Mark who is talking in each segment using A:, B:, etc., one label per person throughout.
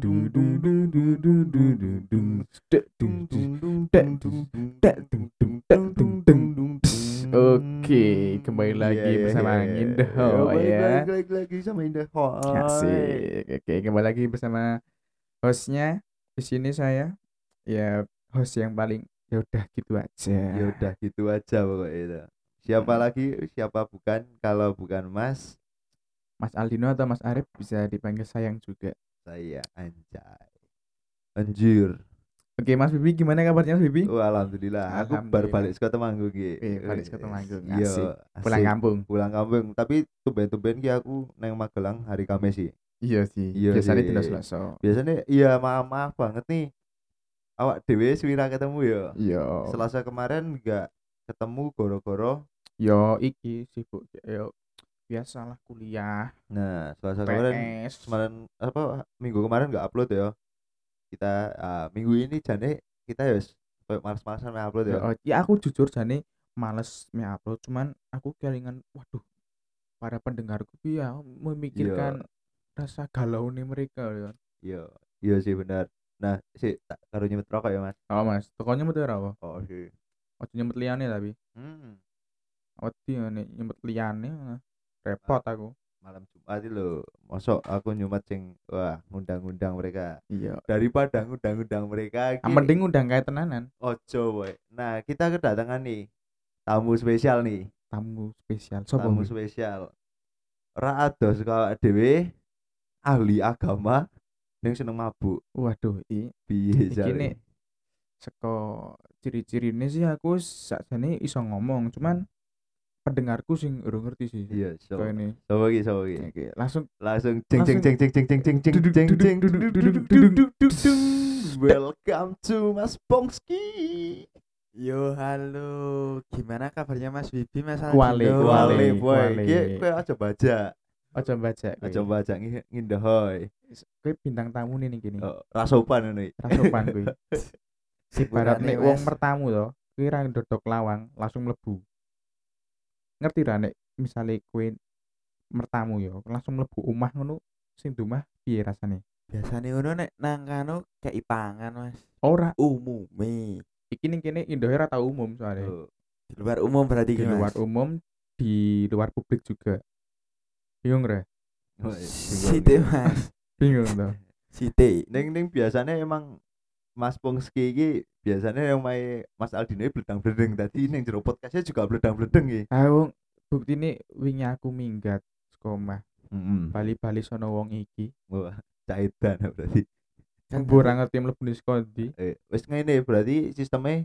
A: Dung dung dung dung dung dung dung dung Dek, dung, dung, dek, dung, dek, dung, dung, dek, dung, dung. Oke, kembali
B: Iya,
A: lagi bersama Ngindaho, ya.
B: Balik, balik lagi sama Indaho.
A: Asik. Oke, kembali lagi bersama hostnya. Di sini saya ya host yang paling ya udah gitu aja.
B: Ya udah gitu aja pokoknya itu. Siapa
A: Hmm.
B: lagi? Siapa bukan? Kalau bukan Mas,
A: Mas Aldino atau Mas Arif bisa dipanggil sayang juga.
B: saya anjay. Anjir.
A: Oke, Mas Bibi gimana kabarnya Mas Bibi?
B: Wah, alhamdulillah. Aku
A: Alhamdulillah.
B: baru balik ke Temanggung iki.
A: Eh, balik saka Temanggung.
B: Iya,
A: Asik.
B: asik.
A: Pulang kampung.
B: Pulang kampung. Tapi tumben-tumben ki aku neng Magelang hari Kamis sih.
A: Iya sih.
B: Iya
A: Biasanya
B: sih.
A: tidak selasa.
B: Biasanya iya maaf-maaf banget nih. Awak dhewe swira ketemu ya.
A: Iya.
B: Selasa kemarin nggak ketemu goro-goro
A: Yo iki sibuk yo biasalah kuliah.
B: Nah, Selasa kemarin
A: PS.
B: kemarin apa minggu kemarin nggak upload ya. Kita ah, minggu ini jane kita ya wis kayak males-malesan main upload ya.
A: Yo, Ya aku jujur jane males me upload cuman aku kelingan waduh para pendengarku ki ya
B: Iya.
A: memikirkan rasa galau nih mereka ya.
B: Iya, iya sih benar. Nah, sih tak karo nyemit rokok ya, Mas.
A: Oh Mas, tokonya nyemut ora apa?
B: Oh, sih.
A: Ojo nyemut liane tapi. "Oh,
B: Hmm,
A: Wedi nih nyemut liane ah. repot aku.
B: malam Jumat itu lho. Mosok aku nyumat sing wah ngundang-ngundang mereka.
A: Iya.
B: Daripada ngundang-undang mereka iki
A: Mending udah kayak tenanan
B: ojo woy. Nah, kita kedatangan nih tamu spesial nih.
A: tamu spesial. Sopo
B: tamu
A: kuwi?
B: spesial ra ados kawak dhewe ahli agama ning seneng mabuk
A: Waduh, i
B: piye
A: Iki nek
B: jare
A: seko ciri-cirine sih aku sakjane iso ngomong cuman pendengarku sing urung ngerti sih
B: iya so
A: Kayak ini
B: sapa iki sapa iki
A: Oke, langsung
B: langsung jeng jeng jeng jeng jeng jeng jeng jeng
A: Duduk,
B: jeng
A: duduk,
B: jeng
A: duduk,
B: duduk,
A: duduk,
B: duduk,
A: duduk,
B: duduk, duduk, duduk. welcome to Mas Pongski
C: Yo halo, gimana kabarnya Mas Bibi Mas Aldo?
A: Kuali, kuali.
B: wale boy
A: wale.
B: iki kowe aja bajak
A: aja baca kowe.
B: aja bajak ngi- ngindahoy
A: Kowe bintang tamu nih nih gini
B: Oh, ra sopan ngono iki
A: rasopan kowe si barat
C: Sipurane,
A: nek wong
C: Mas.
A: pertamu to kowe ra ndodok lawang langsung mlebu ngerti ra nek misale kowe mertamu yo langsung mlebu omah ngono sing dumah piye rasane
C: Biasane ngono nek nang kanu keipangan Mas.
A: ora
C: Umume.
A: iki ning kene indohe ra tau umum soalnya
B: Oh,
C: Di luar umum berarti
A: di
C: iki,
A: luar
C: Mas.
A: umum di luar publik juga bingung re
B: woy, bingung
C: Siti
B: iki.
C: Mas.
A: bingung tuh
C: Siti.
B: Neng neng biasanya emang Mas Pongski iki biasanya yang main Mas Aldino iki bledang-bledeng tadi neng jero podcastnya juga bledang-bledeng iki.
A: aku bukti ini wingi aku minggat sekoma
B: Heeh.
A: bali-bali sono wong iki
B: Wah, caitan berarti.
C: Kan
A: mbok ora ngerti mlebu ning saka ndi
B: Eh, wis ngene berarti sistemnya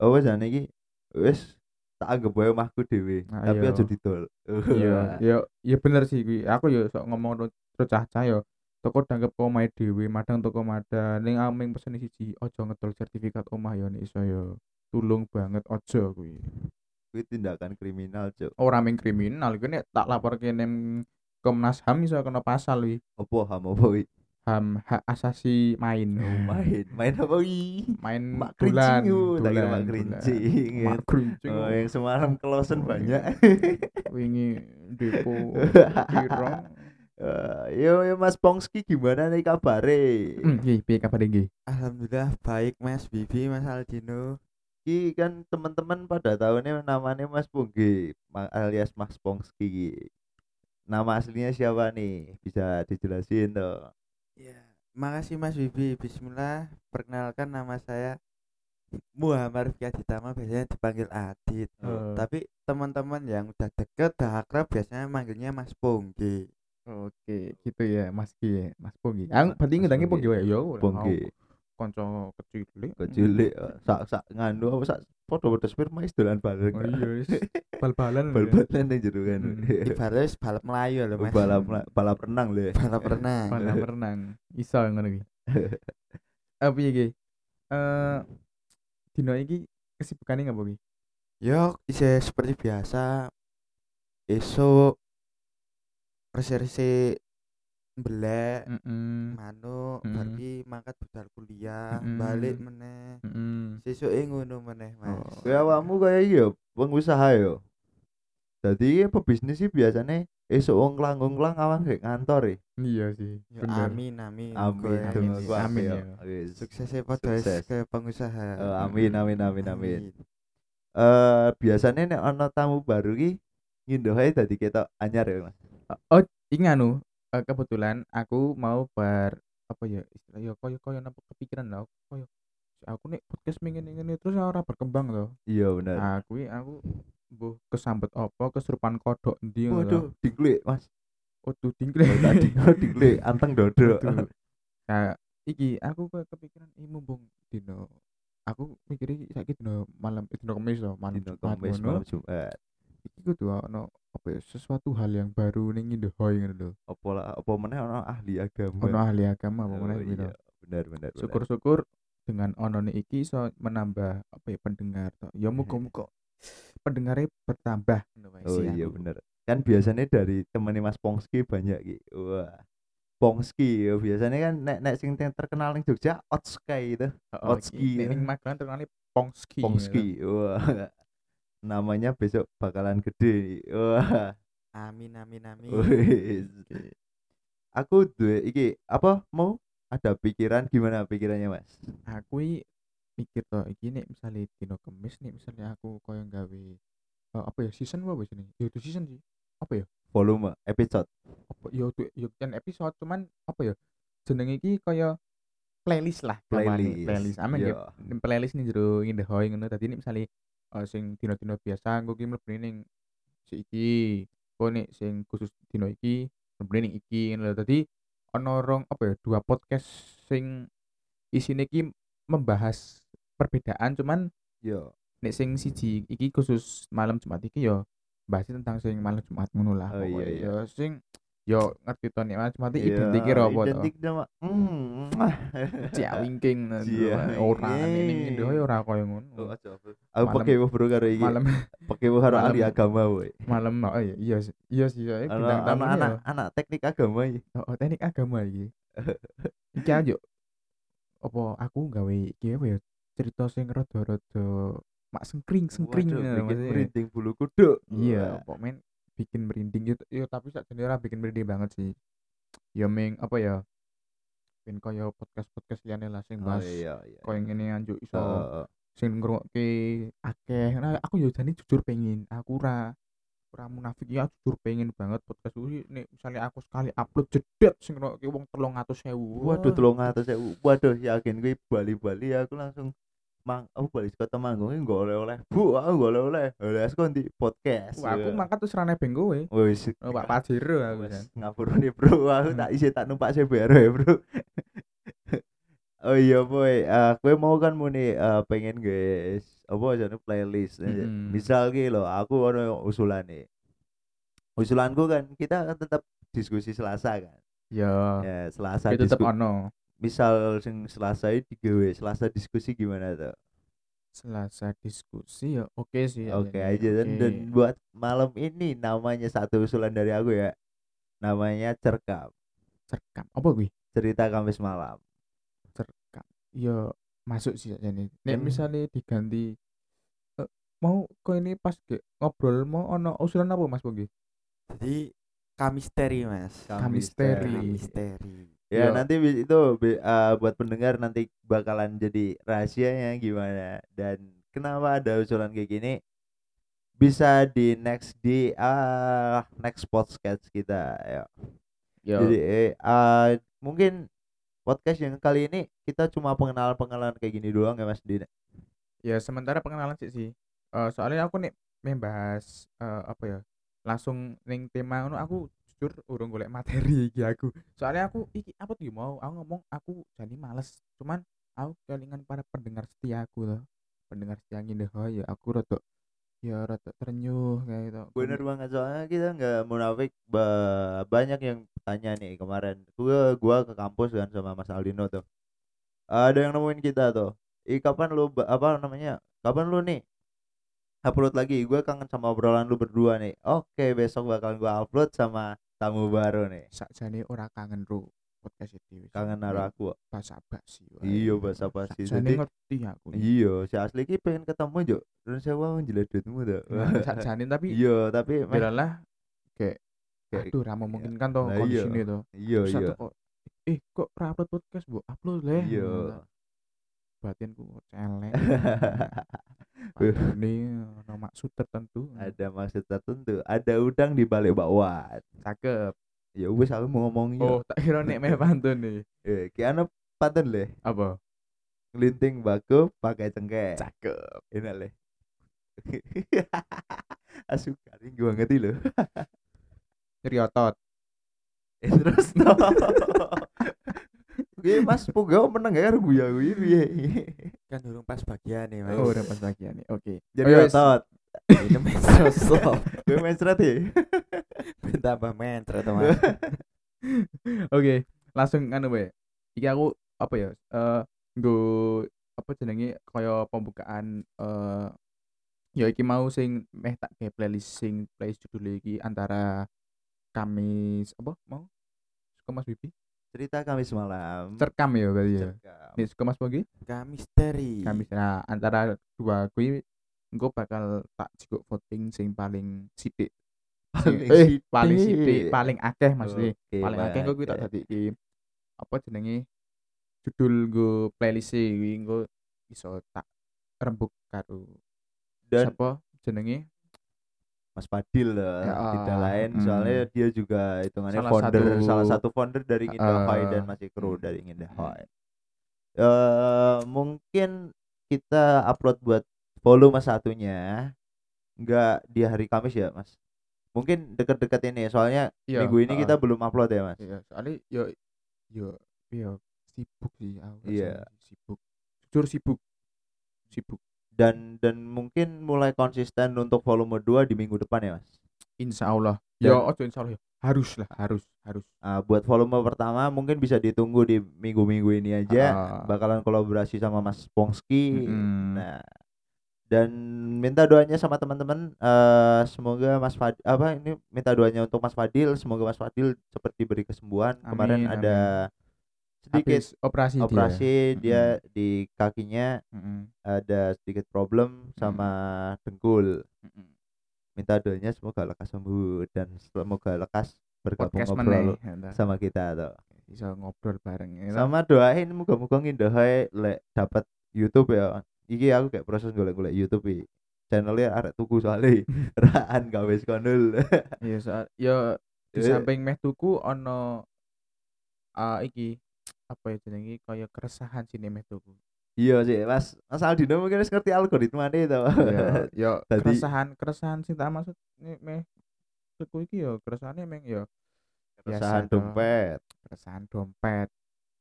B: oh wis jane iki wis tak anggap wae omahku dhewe,
A: Ah,
B: tapi
A: iya.
B: aja didol.
A: iya ya ya bener sih kuwi aku ya sok ngomong ro- terus cah-cah ya toko danggep ke omahe dhewe madang toko madang ning aming pesen siji aja ngedol sertifikat omah ya nek iso ya tulung banget aja kuwi
B: Kuwi tindakan kriminal, Cuk.
A: ora ming kriminal kuwi nek tak laporke ning Komnas HAM iso kena pasal kuwi
B: Apa ham apa iki?
A: HAM hak asasi main
B: Oh, main, main apa iki?
A: main
B: Mak
A: dolan
B: kerincing, yo. uh, tak kira
A: dolan,
B: mak
A: dolan.
B: kerincing.
A: mak kerincing
B: Oh, yang semalam kelosen banyak.
A: wingi depo kira
B: Eh, yo, yo Mas Pongski gimana nih kabare?
A: Hmm, iki piye kabar iki
C: Alhamdulillah baik Mas Bibi Mas Aldino.
B: Ki kan teman-teman pada tahunnya namanya Mas Pongki ma- alias Mas Pongski. ki. Nama aslinya siapa nih? Bisa dijelasin toh.
C: Ya, makasih Mas Bibi. Bismillah. Perkenalkan nama saya Muhammad Rifki Aditama biasanya dipanggil Adit.
A: Oh.
C: Tapi teman-teman yang udah deket, udah akrab biasanya manggilnya Mas Pongki.
A: Oke, gitu ya Mas Ki, Mas Ponggi. Aku
B: Mas-
A: berarti
B: Mas
A: ngedangi
B: Ponggi.
A: Ponggi wae ya. ora.
B: Pongki,
A: Aku Konco kecil.
B: kecilik sak sak nganu apa sak podo-podo sperma is dolan bareng.
A: Oh iya, wis. bal-balan.
B: Bal-balan ning jero kan.
A: Hmm.
C: Ibaratnya wis balap Melayu lho
A: Oh,
C: Mas.
B: Balap balap renang lho. ya.
C: balap renang.
A: Kono renang. Iso ngono iki. Eh piye iki? Eh dino iki kesibukane ngapa iki?
C: Yo, isih seperti biasa. Esok reserse belek
A: Heeh.
C: manuk
A: Mm.
C: bar ki mangkat budal kuliah,
A: Mm.
C: balik meneh.
A: Heeh.
C: Sesuke ngono meneh, Mas.
A: Hmm. Oh.
B: Kuwi awakmu kaya iki yo, pengusaha yo. Jadi pebisnis sih biasanya esok wong langgung-lang awang gak ngantor ya.
A: Iya sih,
C: Ya,
A: bener.
C: amin amin.
B: Amin.
C: Gue
A: amin,
B: Amin.
A: ya. Amin,
B: Amin.
A: ya.
B: Wis.
C: Sukses ya pada
B: Sukses.
C: ke pengusaha.
B: Eh, Amin amin amin amin. Eh biasanya nek ana tamu baru ki ngindohe dadi ketok anyar ya, Mas.
A: Oh, ini anu, eh, kebetulan aku mau bar apa ya istilah ya koyo koyo napa kepikiran lah koyo aku nih podcast mingin ini terus ora berkembang loh
B: Iya bener.
A: aku Nah, aku mbuh kesambet apa kesurupan kodok ndi ngono
B: Waduh, diklik, Mas.
A: lho. Waduh,
B: Kalau tak
A: dingkle.
B: diklik, diklik anteng dodo.
A: Waduh. Nah, iki aku ke kepikiran iki mumpung dino aku mikir iki saiki dino malam eh, dino Kamis loh, malam
B: Dino
A: Jumat
B: Kamis
A: ngono.
B: malam Jumat.
A: Iki kudu ono apa ya sesuatu hal yang baru ning Indohoy ngono lho.
B: Apa la- apa meneh ana ahli
A: Ono
B: agama.
A: ahli agama apa
B: Iya. Oh,
A: meneh kuwi
B: iya,
A: lho.
B: Bener bener. bener.
A: Syukur-syukur dengan onone iki iso menambah apa ya pendengar toh. Ya muga-muga pendengarnya bertambah ngono wae
B: Oh
A: sih
B: iya
A: aku.
B: bener. Kan biasanya dari temennya Mas Pongski banyak ki. Wah. Pongski ya biasanya kan nek nek sing ten- terkenal ning Jogja Otski itu.
A: Heeh, iki.
B: Potski,
A: Nek
B: ya.
A: ning Magelang terkenalnya Pongski. ngono.
B: Pongski. Wah. Namanya besok bakalan gede. Wah.
C: Amin amin amin.
A: Iya.
B: Wis. Aku duwe iki apa mau ada pikiran gimana pikirannya Mas?
A: aku i mikir toh iki nek misalnya dino kemis nih misalnya aku koyo gawe eh, apa ya season apa wis ini ya itu season sih apa ya
B: Volume episode.
A: apa ya itu ya kan episode cuman apa ya jenenge iki koyo playlist lah gamane, playlist amin ya
B: Yo.
A: Ning playlist nih jero ngindehoy ngono dadi nek misalnya eh, sing dino-dino biasa engko ki mlebu ning si iki engko nek sing khusus dino iki mlebu ning iki ngono lho. dadi ana rong apa ya dua podcast sing isine ki membahas perbedaan cuman
B: Yo.
A: nek sing siji iki khusus malam Jumat iki ya bahas tentang sing malam Jumat ngono lah
B: Oh, iya,
A: pokoknya.
B: iya.
A: Ya, sing yo ngerti to nek malam Jumat iki
B: Yo,
A: identik karo apa to
B: Identik sama mm. mwah.
A: Ciawingking
B: Ciawingking.
A: ora ning Indo ya ora koyo
B: Oh,
A: ngono
B: iya. Aku
A: Malam-
B: pakai wuh bro karo iki.
A: malam
B: Pakai wuh karo ahli
A: malam-
B: agama woi.
A: malam oh iya iya sih iya sih iya bintang
B: Anak
A: tamu
B: anak anak, anak teknik agama ya. iki.
A: oh, teknik agama iki iki aja apa aku gawe iki apa ya cerita sing rada-rada mak sengkring sengkring
B: Waduh,
A: ngono,
B: bikin
A: maksudnya.
B: merinding bulu kuduk.
A: ya, Iya, pokoknya bikin merinding gitu. Yo tapi sak ora bikin merinding banget sih. Ya ming apa ya? Pin koyo podcast-podcast liyane lah sing
B: Wah. Oh
A: bahas
B: iya iya.
A: koyo ngene anjuk iso
B: Heeh.
A: sing ngrungokke akeh. Nah, aku yo jane jujur pengen. Aku ora ora munafik ya jujur pengen banget podcast kuwi nek misale aku sekali upload jedet sing ngrungokke wong 300.000.
B: Waduh, tolong atas ya. Waduh, yakin gue Bali-Bali aku langsung mang oh, aku balik ke kota manggungnya nggak oleh-oleh bu aku nggak oleh-oleh oleh aku di podcast
A: Wah, aku mangkat terus rane beng kowe.
B: wis
A: Oh, Pak Pajero aku
B: ya. Wes,
A: kan.
B: ngapura nih ya, bro aku
A: Hmm.
B: tak isi tak numpak CBR ya bro oh iya boy Eh, gue mau kan muni eh, pengen guys apa aja playlist Eh,
A: Mm-mm.
B: misal ki lo aku ono usulan nih usulanku kan kita kan tetap diskusi Selasa kan
A: Ya,
B: ya Selasa
A: itu tetep
B: disku-
A: ono.
B: misal sing Selasa iki digawe Selasa diskusi gimana tuh
A: Selasa diskusi ya oke sih ya,
B: Oke
A: Jen, ya,
B: aja dan, dan
A: oke.
B: buat malam ini namanya satu usulan dari aku ya namanya cerkam
A: cerkam apa gue
B: cerita Kamis malam
A: cerkam ya masuk sih jadi nek
B: Hmm.
A: misalnya diganti eh, mau kok ini pas ge, ngobrol mau ono usulan apa mas Bogi
C: Jadi kamisteri mas.
A: Kamisteri.
C: Kamisteri.
B: Ya
A: Yo.
B: nanti bi- itu bi- eh, buat pendengar nanti bakalan jadi rahasianya gimana dan kenapa ada usulan kayak gini bisa di next di ah, next podcast kita ya.
A: ya
B: Jadi eh, ah, mungkin podcast yang kali ini kita cuma pengenalan-pengenalan kayak gini doang ya Mas di
A: ya sementara pengenalan sih sih Eh, soalnya aku nih membahas eh, apa ya langsung ning tema ngono aku jujur urung golek materi iki aku soalnya aku iki apa tuh ya, mau aku ngomong aku jadi males cuman aku kelingan para pendengar setia aku loh pendengar setia Ngindehoy ya aku rada ya rada terenyuh kayak gitu Aku
B: Bener banget soalnya kita nggak munafik ba- banyak yang tanya nih kemarin gua gua ke kampus kan sama Mas Aldino tuh ada yang nemuin kita tuh Ih, kapan lu ba- apa namanya kapan lu nih upload lagi gua kangen sama obrolan lu berdua nih oke besok bakal gua upload sama tamu baru nih
A: sakjane ora kangen ro podcast ya, iki wis.
B: kangen karo aku kok.
A: bahasa basi. wae.
B: Iya, basa-basi.
A: Sakjane
B: Jadi-
A: ngerti aku.
B: iya si asli ki pengen ketemu juk terus sewa njelek duitmu tuh
A: Nah, Sakjane tapi
B: iya tapi meh,
A: belalah kayak
B: Kayak- iya.
A: aduh ra memungkinkan toh
B: Lah,
A: kondisi
B: iya.
A: ini toh.
B: iya
A: Terus
B: iya
A: aku kok eh kok ra upload podcast, Bu? Upload leh.
B: iya
A: Batinku kok celek.
B: Iya.
A: Ini ono maksud tertentu.
B: ada maksud tertentu ada udang di balik bakwan
A: Cakep.
B: ya wis aku mau ngomong iya
A: Oh, tak kira nek meh pantun nih.
B: eh ki ana pantun le
A: Apa?
B: linting baku pakai cengkeh
A: Cakep.
B: enak le asu garing gua ngerti loh
A: Nyeri otot.
B: eh, terus no Oke, Mas Pugao menang gak karo gue ya gue piye.
C: kan durung pas bagian nih mas
A: Oh, udah pas bagian nih. Oke. Oh, ya
B: Jadi
A: Ayo,
B: otot.
C: ini mencret
B: Gue mencret ya.
C: tambah mencret mas
A: Oke, langsung anu bae. Iki aku apa ya? Eh nggo apa jenenge kaya pembukaan eh ya iki mau sing meh tak kayak playlist sing playlist judul iki antara Kamis apa mau? Suka Mas Bibi?
B: Hmm. Cerita Iya. Kamis malam.
A: Cerkam ya berarti ya.
B: Cerkam.
A: Nih suka Mas Bogi?
B: Iya.
C: kami misteri
A: Kamis. Nah, antara dua kuwi engko bakal tak jikok voting sing paling sithik. Sing-
B: Paling
A: eh, paling
B: sithik. Oh.
A: sithik, paling akeh maksudnya.
B: Oke, Eh,
A: paling akeh engko kuwi tak
B: baik.
A: dadeki apa jenenge judul nggo playlist e kuwi engko iso tak rembuk karo
B: Dan
A: sapa jenenge
B: Mas Padil lah,
A: Ya,
B: tidak
A: ah,
B: lain
A: mm.
B: soalnya dia juga hitungannya
A: Salah
B: founder
A: satu-
B: salah satu founder dari Ngindahoi dan
A: Eh,
B: masih kru dari Ngindahoi. Eh mungkin kita upload buat volume satunya enggak di hari Kamis ya, Mas. Mungkin deket-deket ini soalnya
A: iya,
B: minggu ini
A: heeh.
B: kita belum upload ya, Mas.
A: iya soalnya yo yo yo sibuk sih aku
B: Iya.
A: rasanya sibuk jujur sibuk sibuk
B: Dan dan mungkin mulai konsisten untuk volume 2 di minggu depan ya, Mas.
A: insyaallah
B: Dan-
A: yo ojo insyaallah yo. harus lah harus harus
B: Ah, buat volume pertama mungkin bisa ditunggu di minggu-minggu ini aja.
A: Heeh.
B: Ah. bakalan kolaborasi sama Mas Pongski.
A: Mm-mm.
B: Nah, dan minta doanya sama teman-teman eh semoga Mas Fad apa ini minta doanya untuk Mas Fadil, semoga Mas Fadil cepat diberi kesembuhan. Kemarin
A: Amin,
B: ada sedikit
A: Habis operasi dia.
B: operasi dia,
A: Mm-mm.
B: di kakinya
A: Mm-mm.
B: ada sedikit problem sama
A: Mm.
B: dengkul.
A: Mm-mm.
B: Minta doanya semoga lekas sembuh dan semoga lekas bergabung
A: podcast
B: ngobrol
A: meneh entah.
B: sama kita tuh.
A: bisa ngobrol bareng ya,
B: sama doain muga-muga ngindahe lek dapat YouTube ya iki aku kayak proses golek-golek YouTube iki channelnya arek tuku soalnya raan gawe konul
A: Iya, soal ya di
B: Eh.
A: samping meh tuku ono ah iki apa ya jenenge kaya keresahan sini meh tuku.
B: iya sih mas mas Aldino mungkin harus ngerti algoritma nih tau
A: Ya, ya
B: Tadi-
A: keresahan keresahan sing tak maksud ni- meh tuku iki ya keresahane meng ya biasa
B: keresahan
A: toh.
B: dompet
A: keresahan dompet.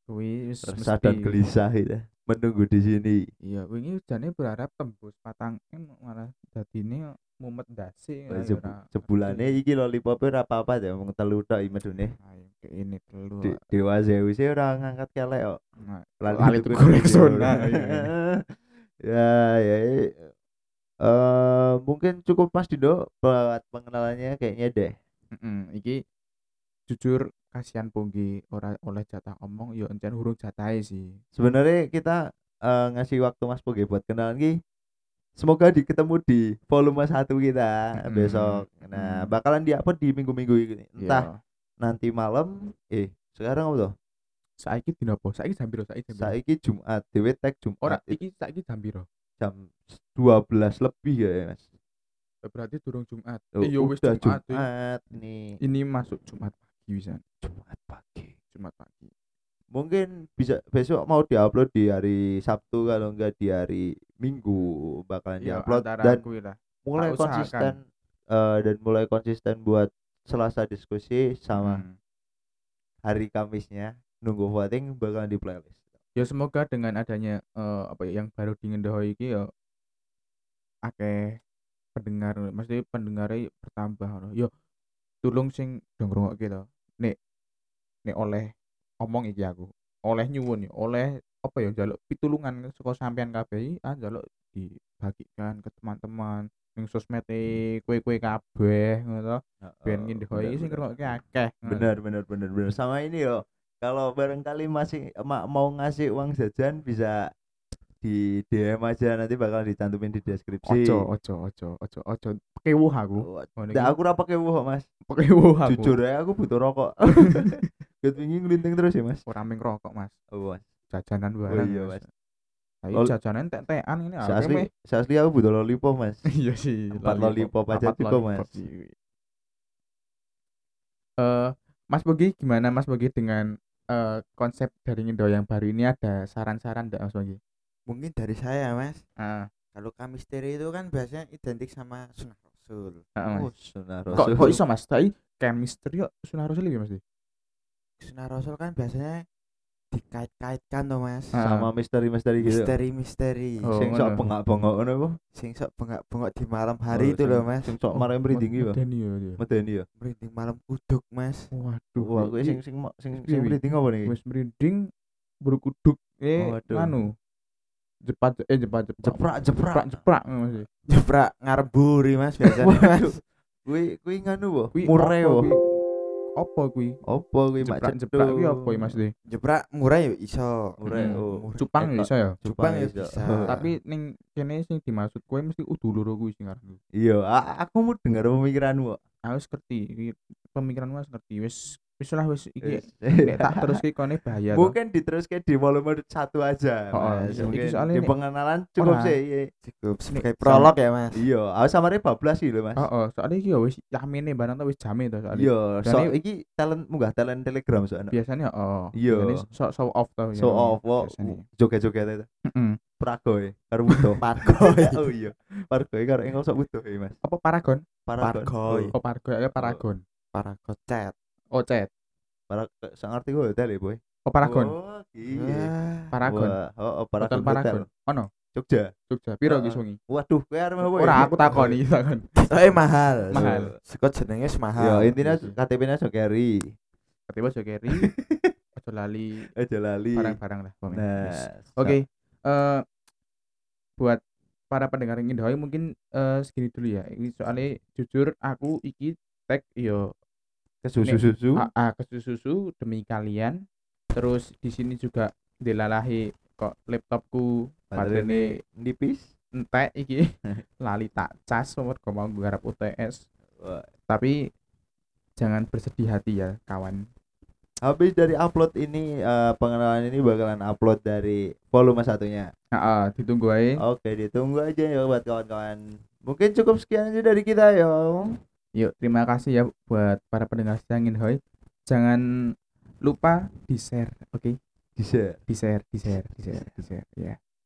A: Kuwi wis
B: resah dan
A: mesti.
B: gelisah gitu menunggu di sini
A: Iya, wingi jane berharap tembus patang M malah dadine mumet ndase ya, ya
B: Sebu-
A: ora
B: sebulannya
A: ngerti.
B: iki lollipopnya ora apa-apa ya mung telu tok iki medune
A: Ayo, kayak ini telu.
B: De- dewa Zeus ora ngangkat kelek kok
A: Nah,
B: lali,
A: Lali
B: tuku
A: tuku
B: Rexona.
A: Rexona, iya.
B: Nah, ya ya eh mungkin cukup Mas Dindo buat pengenalannya kayaknya deh
A: Mm-mm, iki jujur kasihan Punggi ora oleh jatah omong yo encen hurung jatahe sih.
B: sebenarnya kita eh, ngasih waktu Mas Poge buat kenalan ki semoga di- ketemu di volume 1 kita
A: Mm-mm. Iya.
B: besok nah
A: Mm.
B: bakalan di-upload di minggu-minggu ini entah
A: Yo,
B: nanti malam eh sekarang apa tuh
A: Iya, saiki dina apa? Saiki jam piro? Saiki jam piro?
B: saiki Jumat dewe tag Jumat
A: Ora
B: itu
A: iki saiki jam piro?
B: jam 12 lebih ya Mas
A: Eh, Berarti durung Jumat.
B: Loh,
A: Eh, yo wis Iya.
B: udah
A: Jumat. eh.
B: Jumat nih
A: Ini masuk Jumat pagi bisa.
B: Jumat pagi
A: Jumat pagi.
B: mungkin bisa besok mau diupload di hari Sabtu kalau enggak di hari Minggu bakalan
A: Yo,
B: diupload
A: Iya, antara
B: dan
A: kuwi lah.
B: mulai
A: tak usahakan.
B: konsisten eh, dan mulai konsisten buat Selasa diskusi sama
A: Hmm.
B: hari Kamisnya nunggu voting bakalan di playlist.
A: Ya semoga dengan adanya eh, apa ya, yang baru di Ngendahoy iki yo akeh pendengar, mesti pendengarnya bertambah ngono. Yo tulung sing do ngrungokke to. Nek nek oleh omong iki aku, oleh nyuwun ya, oleh apa ya njaluk pitulungan saka sampean kabeh iki, ah njaluk dibagikan ke teman-teman ning sosmed e kue-kue kabeh ngono to. Ben Ngendahoy iki sing ngrungokke akeh. ngono.
B: Benar benar benar benar sama ini yo kalau barangkali masih ma- mau ngasih uang jajan bisa di DM aja nanti bakal dicantumin di deskripsi.
A: Ojo, ojo, ojo, ojo, ojo. Kewuh aku. Ngono
B: Nggak,
A: iki.
B: aku ora pakai wuh, Mas.
A: Kewuh aku.
B: Jujur ya aku butuh rokok. Gat wingi nglinting terus ya, Mas.
A: Ora ming rokok, Mas.
B: Oh, Mas.
A: Jajanan barang.
B: iya, Mas.
A: Ayo
B: Lol-
A: jajanan tek-tekan ini apa
B: Asli,
A: meh?
B: asli aku butuh lollipop, Mas.
A: Iya sih.
B: Empat lollipop aja
A: Empat
B: cukup,
A: lollipop.
B: Mas.
A: Iya. Eh, Mas Bogi gimana Mas Bogi dengan eh, konsep dari Indo yang baru ini ada saran-saran enggak Mas Bogi?
C: Mungkin dari saya mas.
A: Ah,
C: Kalau kamisteri itu kan biasanya identik sama sunnah rasul.
A: ah, Mas.
B: Oh, sunah
A: Kok
B: rasul.
A: kok iso Mas? Tapi chemistry kok sunah rasul iki Mas. Di?
C: Sunnah rasul kan biasanya dikait-kaitkan tuh mas.
A: Ah.
B: sama misteri-misteri gitu.
C: Misteri-misteri.
A: Oh,
B: Sing
A: ngono.
B: sok bengak-bengok ngono apa?
C: Sing sok bengak-bengok di malam hari
B: Oh,
C: itu
B: sing-
C: loh mas.
B: Sing sok
A: Oh,
B: marem mridingi ya.
A: Medeni ya, iya.
B: Medeni ya.
C: Merinding malam kuduk mas.
A: Waduh.
B: Wah, aku
A: iki
B: sing sing mo- sing
A: Iki
B: sing
A: wi.
B: mriding apa nih?
A: wis merinding berkuduk eh
B: Waduh.
A: anu. Jepat eh jepat jepat.
B: Jeprak, jeprak.
A: Jeprak jeprak Mas. Di.
C: Jeprak ngarep buri mas biasanya mas.
B: Kuwi kuwi nganu wo,
A: Kuwi
B: murah
A: apa
B: wo.
A: kuwi? Apa kuwi?
B: Opo kuwi mak
A: Jeprak jeprak kuwi apa ya, Mas? Di?
C: Jeprak murah ya iso.
B: Murah,
A: Mm.
B: oh.
C: Murah.
A: Cupang
B: Eh,
A: ya iso ya.
C: Jepang ya
B: Jepang
C: bisa.
B: iso.
A: tapi ning kene sing dimaksud kowe mesti udu loro kuwi sing aran.
B: Iya, a- aku mau dengar pemikiranmu.
A: Aku wis ngerti, iki pemikiranmu wis ngerti. Wis wis lah wis iki nek tak
B: Mungkin
A: terus iki kone bahaya. to.
B: Mungkin diteruske di volume satu aja.
A: Oh, oh,
B: Mas.
A: iya.
B: Mungkin
A: Iki soalnya
B: di
A: nek-
B: pengenalan cukup
A: Ora.
B: sih. iya.
C: Cukup sebagai
A: Sama-
C: prolog ya mas.
B: Iya, aku samare bablas sih lho, Mas.
A: Heeh, soalnya iki ya wis yamene barang ta wis jame to soalnya.
B: Iya, so
A: Dan
B: iki talent munggah talent Telegram soalnya.
A: Biasanya oh.
B: Iya.
A: show, show off to
B: So opo joget-joget itu. Pragoe karo butuh.
C: Parkoy.
B: oh iya. Pargoe karo engkol sok butuh ya, Mas.
A: Apa paragon?
C: Pargoy.
A: Oh,
B: Oh,
A: paragon ya paragon.
C: Paragon chat.
A: Ocet.
B: Paragoy. Sak ngerti gue hotel ya, Boy.
A: Oh, paragon. Ah,
B: Oh, iya.
C: Wah,
A: Paragon.
B: Wah, Oh, oh,
A: Hotel
B: Paragon
A: paragon.
B: Hotel.
A: Ono,
B: Jogja.
A: Jogja. Piro iki
B: Heeh.
A: sungi?
B: Waduh, kowe arep apa
A: Ora aku takon iki takon.
C: Soalnya mahal.
A: Mahal.
C: Sekot jenenge
B: Ya,
C: mahal.
B: intinya
A: iya sih.
B: KTP-nya sok carry.
A: Ketiba Jogeri. Aja lali
B: Aja lali.
A: barang-barang lah. pokoknya. Wis.
B: Iya. Nah,
A: Oke, eh buat para pendengar ingin doi mungkin eh, segini dulu ya. Ini soalnya jujur aku iki tag iya, yo
B: ke susu-susu.
A: AA kesusu ah, demi kalian. Terus di sini juga dilalahi kok laptopku baterainya
B: nipis.
A: entek iki lali tak cas mergo mau nggarap UTS.
B: Wah.
A: Tapi jangan bersedih hati ya kawan.
B: Habis dari upload ini eh, pengenalan ini bakalan upload dari volume satunya.
A: Heeh, ditunggu aja.
B: Oke, ditunggu aja ya buat kawan-kawan. Mungkin cukup sekian aja dari kita ya.
A: Yuk, terima kasih ya buat para pendengar Siangin Hoi. Jangan lupa di-share, oke?
B: Bisa.
A: Di-share, di-share, di-share, di-share, ya.